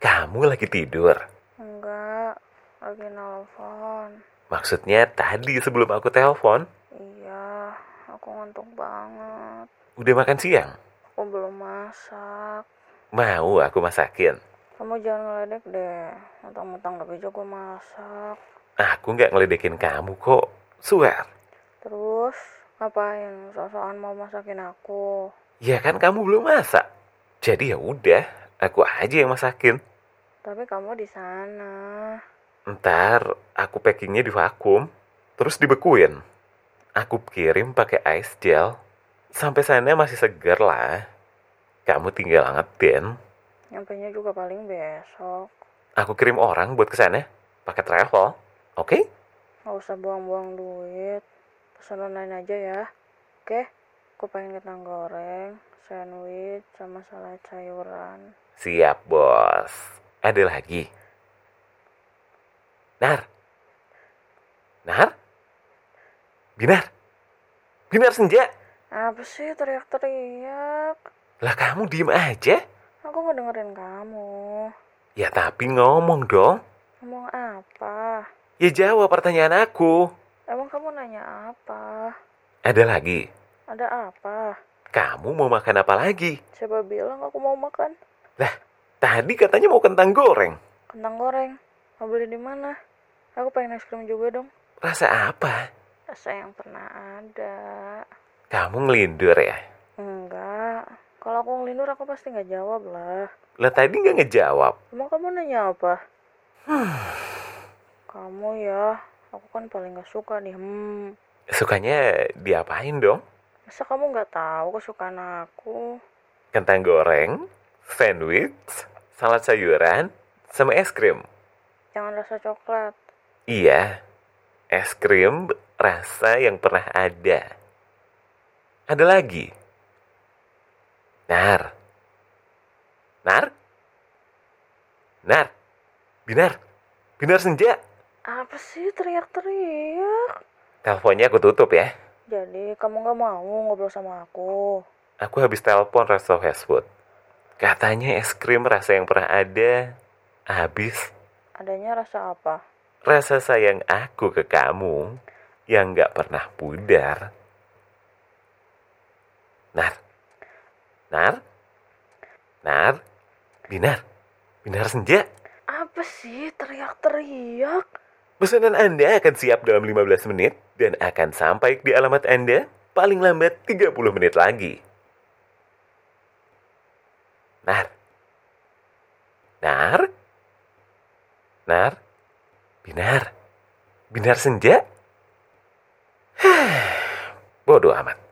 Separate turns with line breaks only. Kamu lagi tidur?
Hmm, Enggak, lagi nelfon.
Maksudnya tadi sebelum aku telepon,
Iya, aku ngantuk banget.
udah makan siang?
Aku belum masak.
Mau aku masakin?
Kamu jangan ngeledek deh. Mentang-mentang gak bisa gue masak.
Aku nggak ngeledekin kamu kok. Suar.
Terus, ngapain? Sosokan mau masakin aku.
Ya kan kamu belum masak. Jadi ya udah, aku aja yang masakin.
Tapi kamu di sana.
Ntar aku packingnya di vakum, terus dibekuin. Aku kirim pakai ice gel. Sampai sana masih seger lah. Kamu tinggal angetin.
Nyampainya juga paling besok.
Aku kirim orang buat kesana, pakai travel. Oke?
Gak usah buang-buang duit. Pesan online aja ya. Oke, aku pengen kentang goreng, sandwich, sama salad sayuran.
Siap, bos. Ada lagi. Nar. Nar. Binar. Binar senja.
Apa sih teriak-teriak?
Lah kamu diem aja.
Aku nggak dengerin kamu.
Ya tapi ngomong dong.
Ngomong apa?
Ya jawab pertanyaan aku.
Emang kamu nanya apa?
Ada lagi.
Ada apa?
Kamu mau makan apa lagi?
Siapa bilang aku mau makan
Tadi katanya mau kentang goreng.
kentang goreng? Mau beli di mana? Aku pengen es krim juga dong.
Rasa apa?
Rasa yang pernah ada.
Kamu ngelindur ya?
Enggak. Kalau aku ngelindur aku pasti nggak jawab lah.
Lah tadi nggak ngejawab.
Emang kamu nanya apa? kamu ya. Aku kan paling nggak suka nih. Hmm.
Sukanya diapain dong?
Masa kamu nggak tahu kesukaan aku?
kentang goreng, sandwich, salad sayuran, sama es krim.
Jangan rasa coklat.
Iya, es krim rasa yang pernah ada. Ada lagi. Nar. Nar? Nar. Binar. Binar senja.
Apa sih teriak-teriak?
Teleponnya aku tutup ya.
Jadi kamu nggak mau ngobrol sama aku?
Aku habis telepon resto fast food. Katanya es krim rasa yang pernah ada. Habis.
Adanya rasa apa?
rasa sayang aku ke kamu yang gak pernah pudar. Nar, Nar, Nar, Binar, Binar Senja,
Apa sih teriak-teriak?
pesanan Anda akan siap dalam 15 menit dan akan sampai di alamat Anda paling lambat 30 menit lagi. Nar, Nar, Nar, Binar, Binar Senja. Bodoh amat.